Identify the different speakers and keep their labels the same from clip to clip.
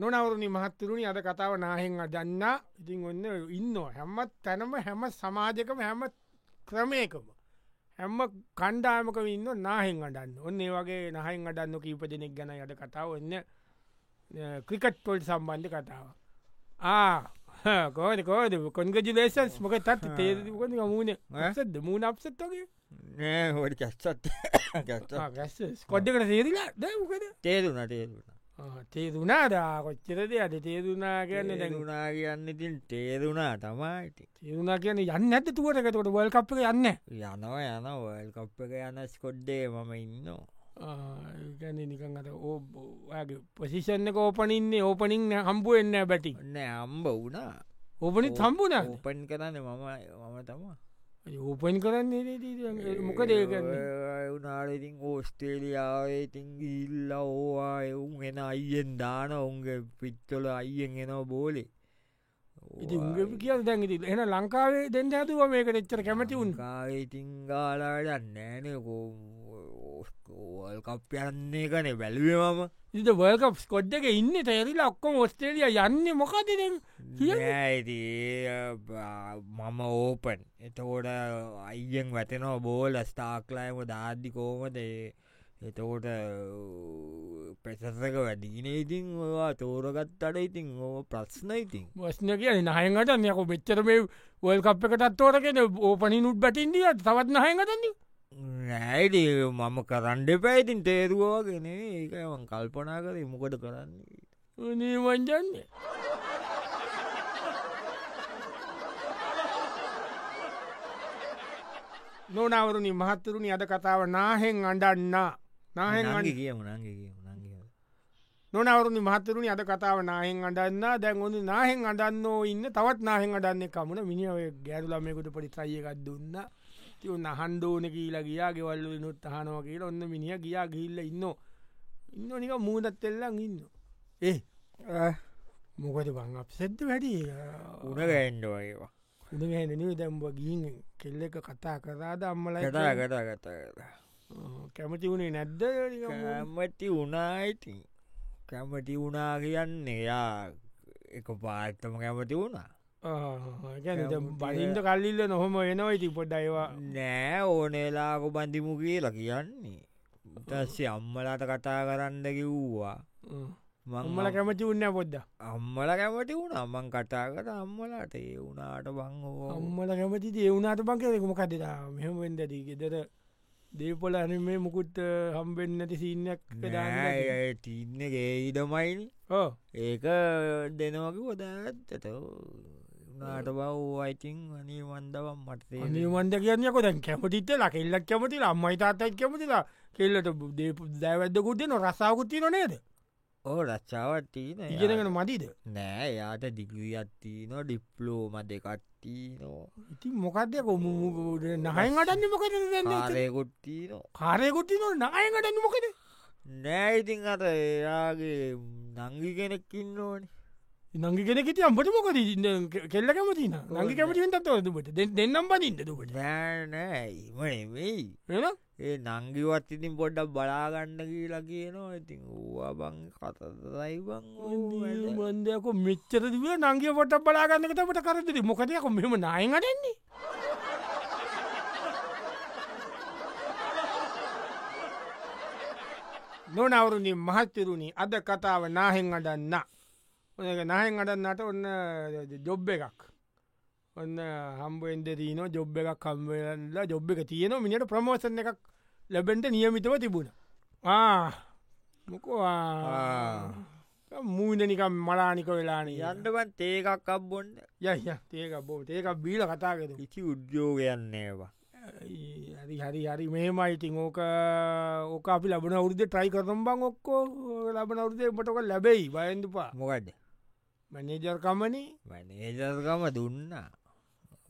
Speaker 1: නොනවරුණි මහත්තුරුණි අද කතාව නාහෙන් අදන්න ඉතින් ඔන්න ඉන්න හැමත් තැනම හැම සමාජකම හැම ක්‍රමයකම හැම කණ්ඩාමක ඉන්න නාහෙන් අඩන්න ඔන්න ඒ වගේ නහෙන් අඩන්න කීප දෙනෙක් ගැන අද කතාව ඔන්න ක්‍රිකට් පොල් සම්බන්ධ කතාව ආකෝද කෝද කොන්ගජිලේෂන්ස් මොක තත් තේරකොඳ මූුණ ඇසද මූුණ අපසත්තගේ
Speaker 2: නෑ හොට කැස්සත් ගැත්ත
Speaker 1: ගැස්ස කොඩ්ඩකට සේරිලා දැකද
Speaker 2: තේරුණට තේරුණ
Speaker 1: තේරුණාදා කොච්චරද අද තේරුණා කියන්න දැ
Speaker 2: දැනුනා කියන්න ඉතින් තේරුණා තමායිති
Speaker 1: තේරුණා කියන යන්න ඇත තුවටකතකොට වල් කප්ක යන්න
Speaker 2: යනෝ යන ඔල් කොප්පක යන ස්කොඩ්ඩේ මම ඉන්න
Speaker 1: ගැන නිකන් අත ඕ ඔයාගේ පොසිෂන්නක ඕපනින්නේ ඕපනින් හම්බුව එන්න බැටි
Speaker 2: ඔන්න අම්බ වුණා
Speaker 1: ඕපනිත් හම්බුණ
Speaker 2: උපන් කරන්න මම මම තමා
Speaker 1: ඕපන් කරන්නේ මොක දේකන්න
Speaker 2: උනාරඉතින් ඕස්ටේලියාවේ ඉතින් ඉල්ල ඕවා එවුන් එෙන අයියෙන් දාන ඔුන්ගේ පිත්තොල අයියෙන් එනෝ බෝලේ
Speaker 1: ඉති උග කිය දැන් ඉති එන ලංකාවේ දෙන්න ඇතුව මේක එච්චර කැමති උන්
Speaker 2: කායිතින් ගාලාට නෑනකෝ ඕස්කෝල් කප් යන්නේ කනේ බැලුවම
Speaker 1: ඉට වල්කප් කොඩ්ඩක ඉන්න තේරිලා ඔක්කොම ඔස්ටේලිය යන්න මොකදන කියන්නේ?
Speaker 2: නෑති මම ඕපන් එතකොට අයියෙන් වැතෙනවා බෝල ස්ථාක්ලායම දාද්දි කෝමද ඒ- එතකොට පෙසසක වැඩින ඉතින් ඔවා තෝරගත් අට ඉතින් ඕ ප්‍රශ්න ඉතින්
Speaker 1: වස්න කිය නහයකට යක මෙච්චර මේ වල් කප් එකටත්තෝරකෙන ඕපනි නුට් බැටින්දිය තවත් නහයකතන්න
Speaker 2: නෑඩ මම කරන්ඩ පැයිතින් තේරුවගෙන ඒකමන් කල්පනා කර මොකට කරන්නේ
Speaker 1: නීවංජන්න නොනවරුණි මහත්තරුණි අද කතාව නාහෙෙන් අඩන්න නාහෙන් අඩි
Speaker 2: නගේ කියම නගේ කියම නගේ
Speaker 1: නොනවරුණි මහතරුණි අද කතාව නාහෙන් අඩන්න දැන් ඔොඳ නාහෙන් අඩන්න ඉන්න තවත් නාහෙන් අඩන්නේ කමුණ මිනිියාව ගැරුලමයකුට පරිිත්‍රයකත් දුන්න තිව නහන්ඩෝන කියීලා ගියා ගෙවල්ල නොත් අහනව කියලා ඔන්න මිනිිය ගියා ගිල්ල ඉන්න ඉන්න නික මූදත් එල්ලන් ඉන්න ඒ මොකද බං අපසෙද්ද වැඩි
Speaker 2: උනගඇන්ඩෝ ඒවා
Speaker 1: උදගැනනව දැම්බ ගීන් කෙල්ල එක කතා කරාද අම්මලයි
Speaker 2: කතා කතා කතා කතා
Speaker 1: කැමති වුණේ නැද්ද නිකන් මූ-
Speaker 2: කැමටි වනායිති කැමටි වනා කියන්න එයා එක පාත්තම කැමති වුණා
Speaker 1: ආ, ඒ
Speaker 2: කැමති
Speaker 1: බලින්ට කල්ලිල්ල නොහොම එනවා ඉති පොඩ්ඩයිවා
Speaker 2: නෑ ඕනෙලාක බඳිමු කියලා කියන්නේ උතස්සේ අම්මලාට කතා කරන්න කිව්වා මං
Speaker 1: අම්මල කැමති උන්න පොද්ද
Speaker 2: අම්මල කැමටි වුණ අමන් කටා කර අම්මලාට ඒ වුනාට බං ඕවා
Speaker 1: අම්මල කැමති ඒවුනාට පංකෙකම කටලා මෙහම වෙන්දදී ගෙදර දේපොල අන මේ මුකුත් හම්බෙන් නැති සිීනයක්
Speaker 2: නෑ, ඒ තින්න ගේයිදමයිනි ඒක දෙනවකි හොදඇත්තට නාට බව අයිතින් අනී වන්දවම් මටේ
Speaker 1: නිවන්ද කියන්නක දැන් කැමටිත්ත ලා කෙල්ලක් කැමතිලා අම්මයි තාත්තයි කැමතිලා කෙල්ලට දේ දැවැද්දකුටේ නො රසාකුත්ති නොනේද
Speaker 2: ඕ රච්චාවත්තින
Speaker 1: ඉගෙනගෙන මතිද
Speaker 2: නෑ යාට දිගියත්තින ඩිප්ලෝම දෙකත්තිනෝ
Speaker 1: ඉතින් මොකක්දය කොම නහයින් අටන්න මොකද
Speaker 2: ආරයකුත්තිනෝ
Speaker 1: කාරයකුත්ති නො නායකටන්න මොකද
Speaker 2: නෑඉතින් අත එයාගේ නංගි කෙනෙක්කින්න ඕනි
Speaker 1: නංගි කෙනෙකෙති අම්බට මොකද කෙල්ල කැමති නංගි කැමටිෙන්ටත් දුට දෙන්නම් බනින්ට දුකට
Speaker 2: නෑනෑ ඉම එවෙයි
Speaker 1: එන
Speaker 2: ඒ නංගිවත් ඉතින් පොඩ්ඩක් බලාගන්න කියලා කියනවා ඉතින් ඕවා බං කතදයි බං ඕ වැඩ.
Speaker 1: මන්දයක මෙච්චර දිව නංගිය පොට බලාගන්නකතමට කරදද මොකදයක මෙම නායගටෙන්නේ නොනවරුණි මහත්තරුණි අද කතාව නාහෙන් අඩන්න ඔක නාහෙන් අඩන්නට ඔන්න ජොබ් එකක් ඔන්න හම්බෙන්ද දීන ජොබ් එකක් කම්වෙල්ල ජොබ් එක තියෙන මිනිට ප්‍රමෝසන එකක් ලැබෙන්ට නියමිතව තිබුණ ආ මොකවා
Speaker 2: ආ.
Speaker 1: මූද නිකම් මලානික වෙලාන යන්න
Speaker 2: යන්නබන් ඒකක් අබ්බොන්න
Speaker 1: යය ඒක බෝ ඒක බීල කතාගෙද
Speaker 2: කිසි උද්‍යෝගයන්නේවා
Speaker 1: හරි හරි හරි මේමයි ඉතිං ඕක ඕක අපි ලබන අවුරුදේ ට්‍රයි කරම් බං ඔක්කෝ ලබන අවුරුදේ පටක ලැබෙයි බයන්දුපා
Speaker 2: මොකඩ
Speaker 1: මැනේජර්කමනි
Speaker 2: මනේජර්කම දුන්නා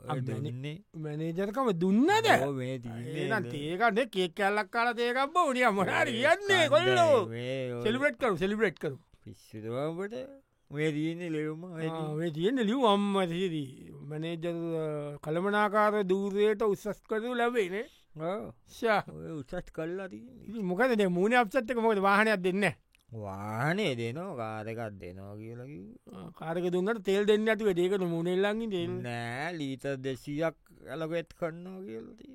Speaker 2: ඔය
Speaker 1: අම්මනේ.
Speaker 2: දුන්නේ
Speaker 1: මැනේජර්කම දුන්නද
Speaker 2: ඕ මේ
Speaker 1: ඒනම් තේකන කෙක් කැල්ලක් කාල තේකක් බෝනිය මොනාර කියන්නේ කොල්ලෝ සෙලිබෙට් කරු සෙලිබෙට් කරු
Speaker 2: පිස්සුදුවට මේ දීන්නේ ලෙවම
Speaker 1: මේ තියෙන ලිව් අම්ම සිදී මනේජර් කළමනාකාර දූරයට උසස් කරතු ලැබේනේ ශා
Speaker 2: ඔය උසත් කල්ලා තින්නේ
Speaker 1: ඉතින් මොකද දැන් මූුණ අපසත්තක මොකද වාහනයක් දෙන්න
Speaker 2: වානේ දෙනවා කාරකත් දෙනවා කියලකි
Speaker 1: කාරක දුන්නට තෙල් දෙන්න ඇතුව ඒකට මුනෙල්ලඟි දෙන්න
Speaker 2: නෑ ලීත දෙසියක් ඇලගෙත් කන්නවා කියලතිය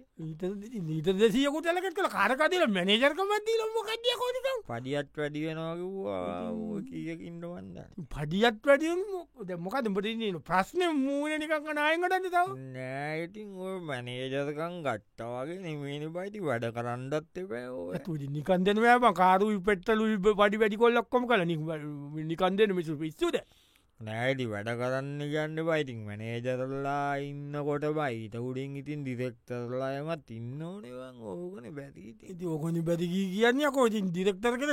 Speaker 1: නීත දෙසියකුට ඇලකට කළ කාරකදල මැනජර්කමත්දී ලොමොකටිය කොරික
Speaker 2: පඩියත් වැඩි වෙනකිවා කියකින්ටවන්න
Speaker 1: පඩියත් වැඩියම් මොකද පටන ප්‍රශ්නය මූලනිකක් නායකටන්න තව
Speaker 2: නෑඉතින් ඔය මැනේජරකං ගට්ට වගේ නිමේන පයිති වැඩ කරන්නත් එපෑ ඕ
Speaker 1: තුදි නිකන්දනවෑම කාරු පෙට්ටලු පඩි වැඩි කොල්ලක්කොම කල නිකන්දන මිසු පිස්සුද
Speaker 2: නෑඩි වැඩ කරන්න ගන්න පයිතින් මැනේජරල්ලා ඉන්නකොට බයිත උඩින් ඉතින් දිරෙක්ටරලායමත් ඉන්න ඕනෙවන් ඕකන බැතිීති
Speaker 1: ඉති ඕකනි බැතිගී කියන්න කෝචින් දිරෙක්ටර් කර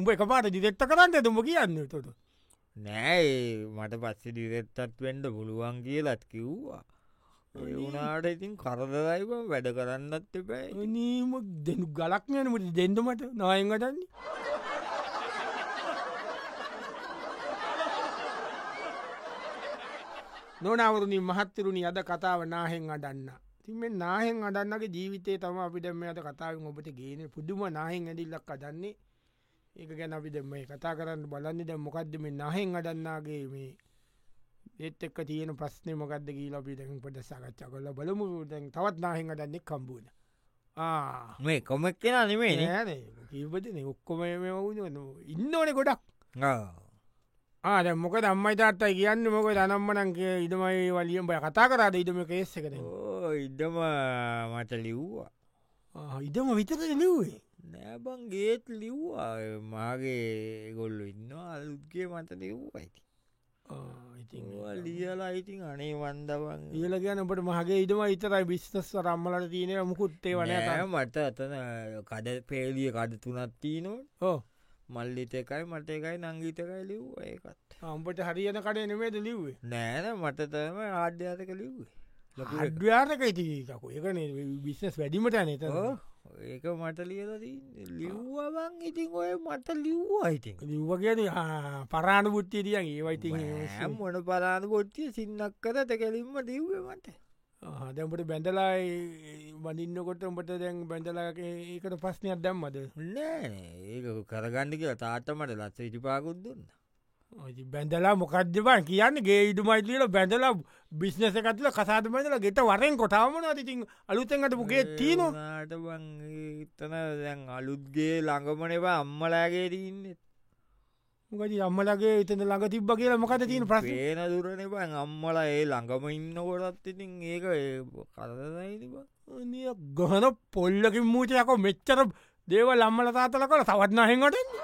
Speaker 1: උඹ එක පාට දිරෙක්ට කරන්න තුම කියන්න තොට
Speaker 2: නෑ ඒ මට පස්සෙ දිරෙත්තත් වෙන්ඩ පුළුවන් කියලත් කිව්වා ඔය වුනාට ඉතින් කරදරයිව වැඩ කරන්නත් එපැයි
Speaker 1: නීම දෙනු ගලක් යනමට දෙන්ඩමට නායගටන්නේ නොනවරුණින් මහත්තරුණි අද කතාව නාහෙන් අඩන්න තිමෙන් නාහෙන් අඩන්නගේ ජීවිතය තම අපිට මේ අද කතාවෙන් ඔබට ගේන පුදුම නාහෙන් ඇඩිල්ලක් අදන්නේ ඒක ගැන අපිට මේ කතා කරන්න බලන්න ද මොකක්ද මේ නාහෙන් අඩන්නාගේ මේ ඒත් එක් තියෙන ප්‍රශ්නය මොකක්ද කියීලා පිටකින් පට සකච්චා කොල්ල බලමු දැන් තවත් නාහෙන් අඩන්නේ කම්බූන ආ
Speaker 2: මේ කොමක් කෙන නෙමේ නේ
Speaker 1: නෑනේ කීපතින ඔක්කොම මේ වුණ ඉන්න ඕන ගොඩක්
Speaker 2: ආ.
Speaker 1: ආද මොක දම්මයි තාත්තයි කියන්න මොක දනම්මනන්ගේ ඉඩමයි වලියම් බය කතා කරාද ඉටම කේස්සකද
Speaker 2: ඕ ඉඩම මට ලිව්වා
Speaker 1: ඉඩම විතර ලිවේ
Speaker 2: නෑබන් ගේත් ලිව්වා ඒ මාගේ ගොල්ලු ඉන්න අල්ගේ මත ලිව්වයිති
Speaker 1: ඉති
Speaker 2: ලියලා ඉතින් අනේ වන්දවන්
Speaker 1: ඉල ගැනට මහගේ ඉඩම ඉතරයි බිස්තස් රම්මලට තියනය මුකුත්තේ වන
Speaker 2: නෑ මට අතන කඩ පේලිය කඩ තුනත් තිීනොත්
Speaker 1: ඕ
Speaker 2: මල්ලිත එකයි මට එකයි නංගීතකයි ලිව්වා ඒකත්
Speaker 1: අම්පට හරියන කඩේ නෙමේද ලිව්වේ
Speaker 2: නෑන මටතම ආඩ්‍යාතක ලිව්වේ ලොකු එක.
Speaker 1: අඩ්‍යාරක ඉතිකු එකන බිස්නස් වැඩිමට නත
Speaker 2: ඕ, ඒක මට ලියලදී ලිව්වවන් ඉතින් ඔය මට ලිව්වා ඉතින්
Speaker 1: ලිව්ව කියන පරාණ පුෘත්තිරියන් ඒවයිති
Speaker 2: නෑ මොන පරාණ කොච්චිය සින්නක් කර තැකලින්ම දව්වමට
Speaker 1: දැම්ට බැඳලායි වඳින්නකොට උඹට දැන් බැඳලාගේ ඒකට ප්‍රශ්නයක් දැම්මද
Speaker 2: නෑ ඒක කරගන්න කියලා තාත්තමට ලස්ස ඉටිපාකුත් දුන්න
Speaker 1: ඔයි බැඳලා මොකක්දබන් කියන්න ගේ ඉඩුමයිතිල බැඳලා බිස්්නස කතුල කසාතමදල ගෙට වරෙන් කොටාවන අතිතින් අලුතැන්ට පුගේ තියනවා
Speaker 2: නාට බං තන දැන් අලුත්ගේ ළඟමනවා අම්මලාගේ දීන්න
Speaker 1: මොකද අම්මලගේ එතන ළඟ තිබ්බ කියලා මොකද තියෙන ප්‍රශ්
Speaker 2: ප්‍රේන දුරන බං අම්මලා ඒ ළඟම ඉන්න කොටත් ඉතින් ඒක කරදයිති
Speaker 1: ගහන පොල්ලකින් මූචයක මෙච්චර දේව ලම්මල තාතල කළ සවත්නාහෙන්ට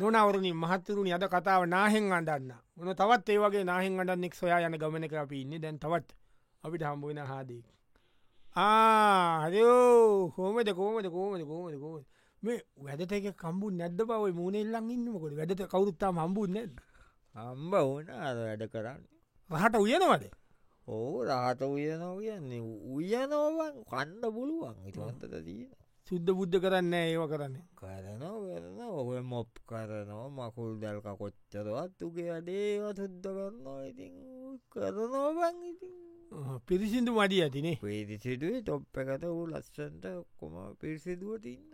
Speaker 1: නොනවරනි මහත්තරුණ අද කතාව නාහෙන් අඩන්න මොන තවත් ඒ වගේ නාහෙන් අඩන්න එක් සොයා යන ගමන කර අපි ඉන්න දැන් තවත් අපිට හම්බුවෙන හාදී ආහදෝ හෝමද කෝමද කෝමද කෝමද කෝ මේ වැඩටක කම්බු නැද බව මූනෙල්ලන් ඉන්නකොට වැඩට කවුරුත්තාම හම්බුන්න
Speaker 2: අම්බ ඕන අද වැඩ කරන්න
Speaker 1: රහට උයනවද
Speaker 2: ඕ රහට උයනෝ කියන්නේ උයනෝවන් කණ්ඩ පුළුවන් ඉටන්තට තියෙන
Speaker 1: සුද්ධ බුද්ධ කරන්න ඒව කරන්න
Speaker 2: කරනෝ කරන ඔය මොප් කරනෝ මකුල් දැල්ක කොච්චරවත් උගේ අඩේවා සුද්ද කරනවා ඉති කරනෝබන් ඉති
Speaker 1: පිරිසිදු මඩිය ඇතිනේ
Speaker 2: පේදිසිටුවේ තොප් එකට වූ ලස්සන්ට කොම පිරිසිදුවට ඉන්න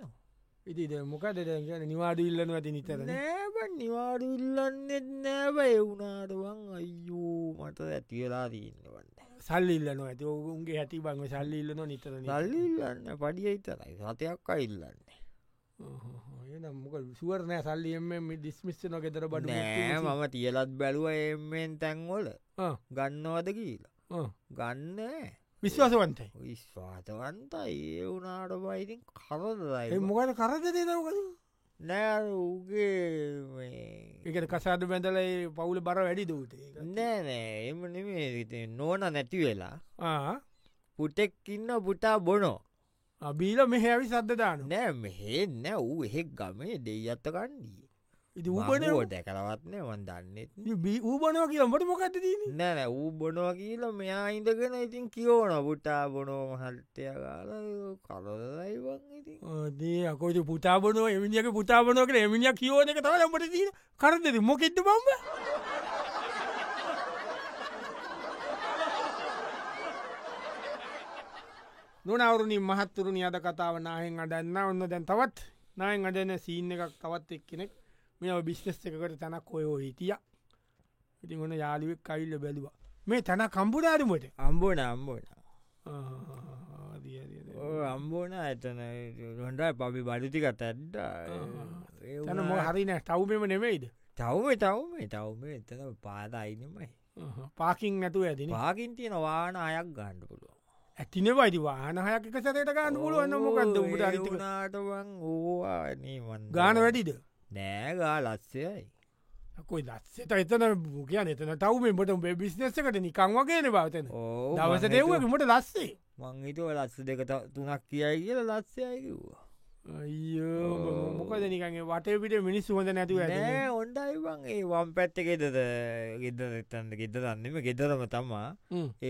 Speaker 1: ඉති මොකද දැන් කියන නිවාඩු ඉල්ලන ඇති නිතර
Speaker 2: නෑබන් නිවාඩු ඉල්ලන්නෙත් නෑබ එවුනාටුවන් අයියෝ මට ඇතිවෙලා දීන්නවන්න
Speaker 1: සල්ල ඉල්ලන ඇති ඔවුන්ගේ ඇති බංව සල්ල ඉල්ලන නිතර
Speaker 2: නල්ලි ඉල්ලන්න පඩිය ඉතරයි සතයක් අඉල්ලන්න
Speaker 1: මොක සුවරනෑ සල්ලියම ඩිස්මිස්ස නොකෙතර බඩු
Speaker 2: නෑ මම තියලත් බැලුව එෙන් තැන්වල
Speaker 1: ආ.
Speaker 2: ගන්නවද කියලා ගන්නෑ
Speaker 1: විශ්වාසවන්තයි
Speaker 2: විශ්වාතවන්ත ඒ වුනාට බයිතින් කරදයි
Speaker 1: මොකද කරද දේදවකද
Speaker 2: නෑ ඌගේ
Speaker 1: එකට කසාද බැඳලයි පවුල බර වැඩි දූතේ
Speaker 2: නෑනෑ එම නෙමේ නෝන නැති වෙලා
Speaker 1: ආ
Speaker 2: පුටෙක් ඉන්න පුටා බොනෝ
Speaker 1: අබීල මෙහැවි සද්ධදාන
Speaker 2: නෑ මෙහෙ නෑ ඌ එහෙක් ගමේ දෙයි අත්ත කණ්ඩී
Speaker 1: ඉති
Speaker 2: ඌබන
Speaker 1: ඌපනෝ
Speaker 2: දැකලවත්නය වන් දන්නෙත්
Speaker 1: ඌබනෝ කියලට මොකක්ද දීන
Speaker 2: නෑන ඌ බොනවා කියල මෙයා ඉඳගෙන ඉතින් කියෝන පුටා බොනෝ මහල්ටය ගාල කලදයිවන් ඉති
Speaker 1: දේ අකෝට පුතාාවනෝ එමිනිියක පුතාාවනෝකට එමිනිිය කියෝන එක තව ලම්ට දීන කරදද මොකෙට්ට බම්බ නොනවරුණින් මහත්තුරුණනි අද කතාව නාහෙන් අඩන්න ඔන්න දැන් තවත් නායෙන් අඩන සීන් එකක් තවත් එක්කෙනෙක් මේ ඔය බිස්නස් එකකට තැනක් ඔයෝ හිටිය ඉතින් ඔන්න යාලිුවෙක් කයිල්ල බැලවා මේ තැන කම්පුඩාරමට
Speaker 2: අම්බෝන අම්බෝන අම්බෝන ඇතන හොඩ පබි බඩුතිකත් ඇඩ්ඩ
Speaker 1: තැන මො හරින ටව්බෙම නෙවෙයිද
Speaker 2: තවම තවම තවම එතන පාද අයිනමයි
Speaker 1: පාකින් නැතුව ඇතින
Speaker 2: පාකින් තියෙන වාන අයක් ගණ්ඩ පුළුව
Speaker 1: ඇතිනවයිති වානහයක් එක සැට ගන්න පුලුවන්න මොකක්ද උට අරිතික
Speaker 2: නාටවන් ඕවානීවන්
Speaker 1: ගාන වැඩිද
Speaker 2: නෑගා ලස්සයයි
Speaker 1: කොයි දස්සෙත එතන කියන එතන තවමෙන්ට උබේ බිස්නස්ස එකට නිකං වගේන බවතන
Speaker 2: ඕ
Speaker 1: දවස දෙව්වමට ලස්සේ
Speaker 2: මංහිතුව ලස්ස දෙක ත- තුනක් කියයි කියල ලස්සයයි කිව්වා
Speaker 1: අයියෝ,
Speaker 2: ඔව්.
Speaker 1: මො- මොකද නිකගේ වටපිට මිනිස් හොඳ නැතුව ඇ
Speaker 2: නෑ ඔොන්ඩයිවන් ඒ වම් පැත්ත ගෙදද ගෙද එතන්න ගෙද දන්නෙම ගෙදරම තමා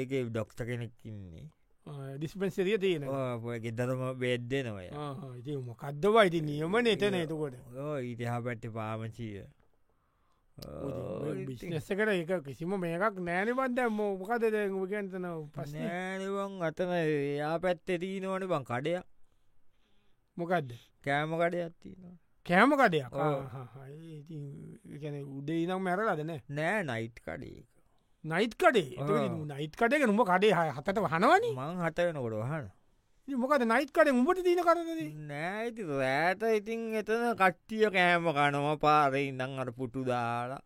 Speaker 2: ඒක ඩොක්ට කෙනෙක්කින්නේ
Speaker 1: ඩිස්පෙන්සරිය තියෙන
Speaker 2: ඔය ගෙදරම බෙද්දෙනවය
Speaker 1: ඉති මොකක්දවා ඉති නියමන එතන එතකොට
Speaker 2: ඉතිහා පැට්ට පාමචීය
Speaker 1: බිස්නස්ස කර එක කිසිම මේකක් නෑනබන්ද මොකද ගැන්තන පස්න
Speaker 2: පස්නෑනිවන් අතන එයා පැත්තේ දීනවන බං කඩයක්
Speaker 1: මොකක්ද
Speaker 2: කෑම කඩයක් තිනවා
Speaker 1: කෑම කඩයක්
Speaker 2: ඔව්.
Speaker 1: ගැන උදේ නම් මැරලදන
Speaker 2: නෑ නයිට් කඩේ
Speaker 1: නයිත් කඩේ
Speaker 2: ආ.
Speaker 1: නයිත් කඩයක නුම කඩේ හය හතට වහනවනි
Speaker 2: මං හටවෙනකොට වහන
Speaker 1: මොකද නයිත් කඩේ උඹට දීන කරද
Speaker 2: නෑති රෑට ඉතින් එතන කට්ටිය කෑම කනවා පාරෙ ඉඳං අර පුටු දාලා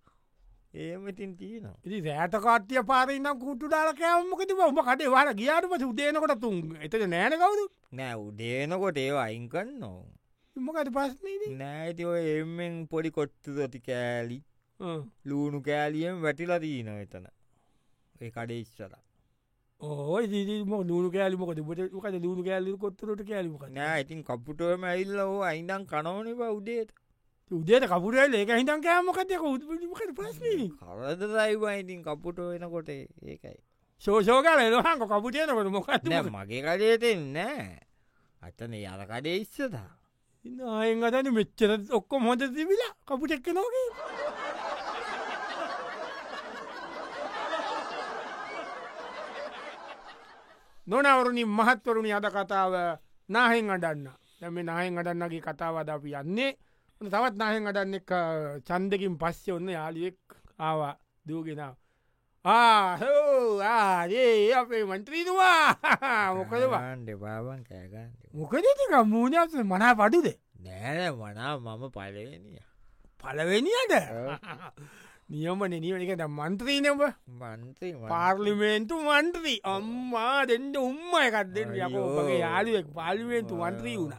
Speaker 2: ඒම ඉතින් තියනවා
Speaker 1: ඉති සෑට කාට්‍යය පාරන්නම් කුට්ටු දාලා කෑමකති උඹ කඩේ වාල ගියාට පස උදේනකොට තුන් එතට නෑන කවුරු
Speaker 2: නෑ උදේනකොට ඒ අයින් කන්නවා
Speaker 1: මොකද පස්නේද
Speaker 2: නෑති ඔය එමෙන් පොඩි කොට්තු දොති කෑලි ලූුණු කෑලියම් වැටිලා දීන එතන ඒ කඩේශ්චර
Speaker 1: ඕයි දීම නූ කෑලිමක ට දූ කෑලි කොත්තරට කෑලිමක
Speaker 2: නෑ ඉතින් කපුටුවම ඇල්ල ඕ අයින්දං කනවනි බ උඩේට
Speaker 1: උදේට කපුරල ඒක හිතන් කෑමකතයක උත්මකට පස්නේ
Speaker 2: කරද දයිවා ඉතින් කපුට වෙනකොට ඒකයි
Speaker 1: ශෝෂෝකල එලහක කපුටයනකට මොකත්
Speaker 2: නෑ මගේ කඩේතෙන්නෑ අතන යර කඩේ ඉස්සතා
Speaker 1: අයගතන මෙච්චර ඔක්කො මොද තිබිලා කපුටෙක්ක නොකේ නොනවරුණින් මහත්වරුණි අද කතාව නාහෙන් අඩන්න දැම නාහෙන් අඩන්නගේ කතාවද අපි යන්නේ ඔන්න තවත් නාහෙන් අඩන්න එක චන්දකින් පස්සේ ඔන්න යාලියෙක් ආවා දූගෙනාව ආහෝආදේ අපේ මන්ත්‍රීතුවා මොකදවා
Speaker 2: ඩෙබාවන් කෑගන්න
Speaker 1: මොකදතික මූුණස මනා පඩුද
Speaker 2: නෑන වනා මම පලවෙනිය
Speaker 1: පලවෙනිියද නියමන නිවනිකට මන්ත්‍රීනව
Speaker 2: මන්තේ
Speaker 1: පාර්ලිමේන්තු මන්ත්‍රී අම්මා දෙන්න උම්ම එකත් දෙන්න යකෝ ඔබගේ යාලුවෙක් පාලිමේන්තු මන්ත්‍රී වුණ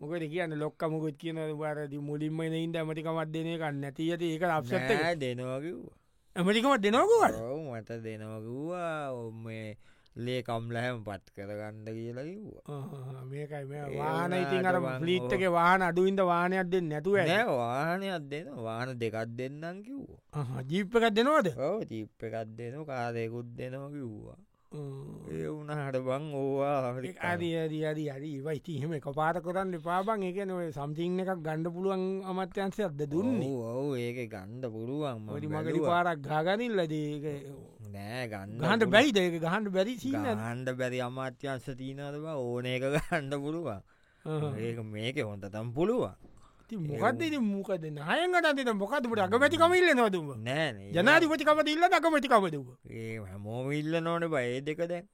Speaker 1: මොකට කියන්න ලොක්කමකුත් කියන වරදි මුලින්ම ඉද ඇමටිකමත් දෙන කන්න ඇතියට ඒක අපසත්
Speaker 2: නෑ දෙනවකිව්වා
Speaker 1: ඇමටිකමත් දෙනවකුවට
Speaker 2: ඔව් මට දෙනවකිව්වා ඔම ලේකම්ලහැම පත් කරගන්න කියලා කිව්වා
Speaker 1: මේකයි මේ
Speaker 2: ඒ
Speaker 1: වාන ඉතින් අර
Speaker 2: වුණාට මං
Speaker 1: ්‍රීට්ක වාන අඩුවින්ද වානයක් දෙන්න නැතුව ඇ
Speaker 2: නෑ වාහනයක් දෙන වාහන දෙකත් දෙන්නම් කිව්වා
Speaker 1: ජීප්පකත් දෙනවද
Speaker 2: ඔව චිප් එකත් දෙන කාරයකුත් දෙනවා කිව්වා ඒ වුණ හට බං ඕවා
Speaker 1: අරි අරි අරි අරි වයිති හෙම කපාට කොරන්න පාබන් එක නොව සම්තිං එකක් ගණ්ඩ පුළුවන් අමත්‍යන්සය අද දුන්නේ
Speaker 2: ඔව ඒක ගණ්ඩ පුළුවන් මං
Speaker 1: මඩි මගරි
Speaker 2: බැලුවා.
Speaker 1: පාරක් ගාගනිල්ලදේක
Speaker 2: නෑ ගන්න
Speaker 1: ගහන්ට බැයිද ඒක ගහන්ඩ බැරි සිීන
Speaker 2: ගහන්ඩ බැරි අමාත්‍යංශ තිීනදව ඕන එක ගණ්ඩ පුළුවන් ඒක මේක හොඳ තම් පුළුවන්
Speaker 1: මොකක්ද මොකද නයගටත මොකදට අගමැතිකමඉල්ල නොතුම
Speaker 2: නෑන
Speaker 1: ජනාධපතිකමට ඉල්ල අකමටිකමතුව
Speaker 2: ඒ හැමෝමිල්ල නොන බයේ දෙක දැන්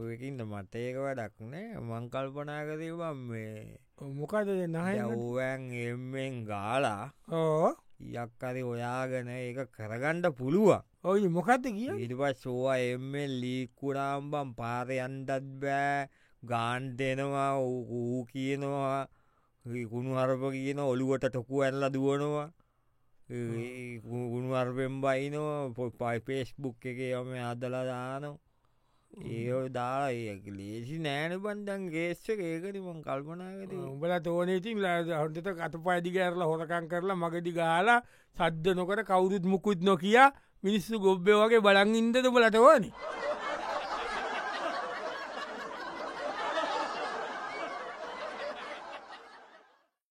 Speaker 2: ඔයකින්ද මතයක වැඩක් නෑ මංකල්පනා කරවා මේ
Speaker 1: මොකද නය
Speaker 2: යවෑන් එෙන් ගාලා
Speaker 1: ඕ
Speaker 2: යක්කරි ඔයාගෙන ඒක කරගණ්ඩ පුළුවන්
Speaker 1: ඔයි මොකක්ද කිය
Speaker 2: ඉරිපත් සෝවා එෙන් ලීකුරාම්බම් පාරයන්ටත් බෑ ගාන් දෙනවා ඌ කියනවා ගුණු හරප කියන ඔළුවට ටොකු ඇල්ල දුවනවා ගුණු අර්පෙන් බයිනෝ පයි පේස්බුක් එක යම අදලා දානෝ ඒ දා ඒ ලේසි නෑන බන්ඩන් ගේස්ස ඒකරිමන් කල්පනාගති
Speaker 1: උඹල තෝනේතින් හොටත කට පයිදි ගැරලා හොරකං කරලා මගටි ගාලා සද්ධ නොකට කවුරුත් මුකුත් නොකිය මිනිස්සු ගොබ්බ වගේ බලන් ඉන්දද බලටවන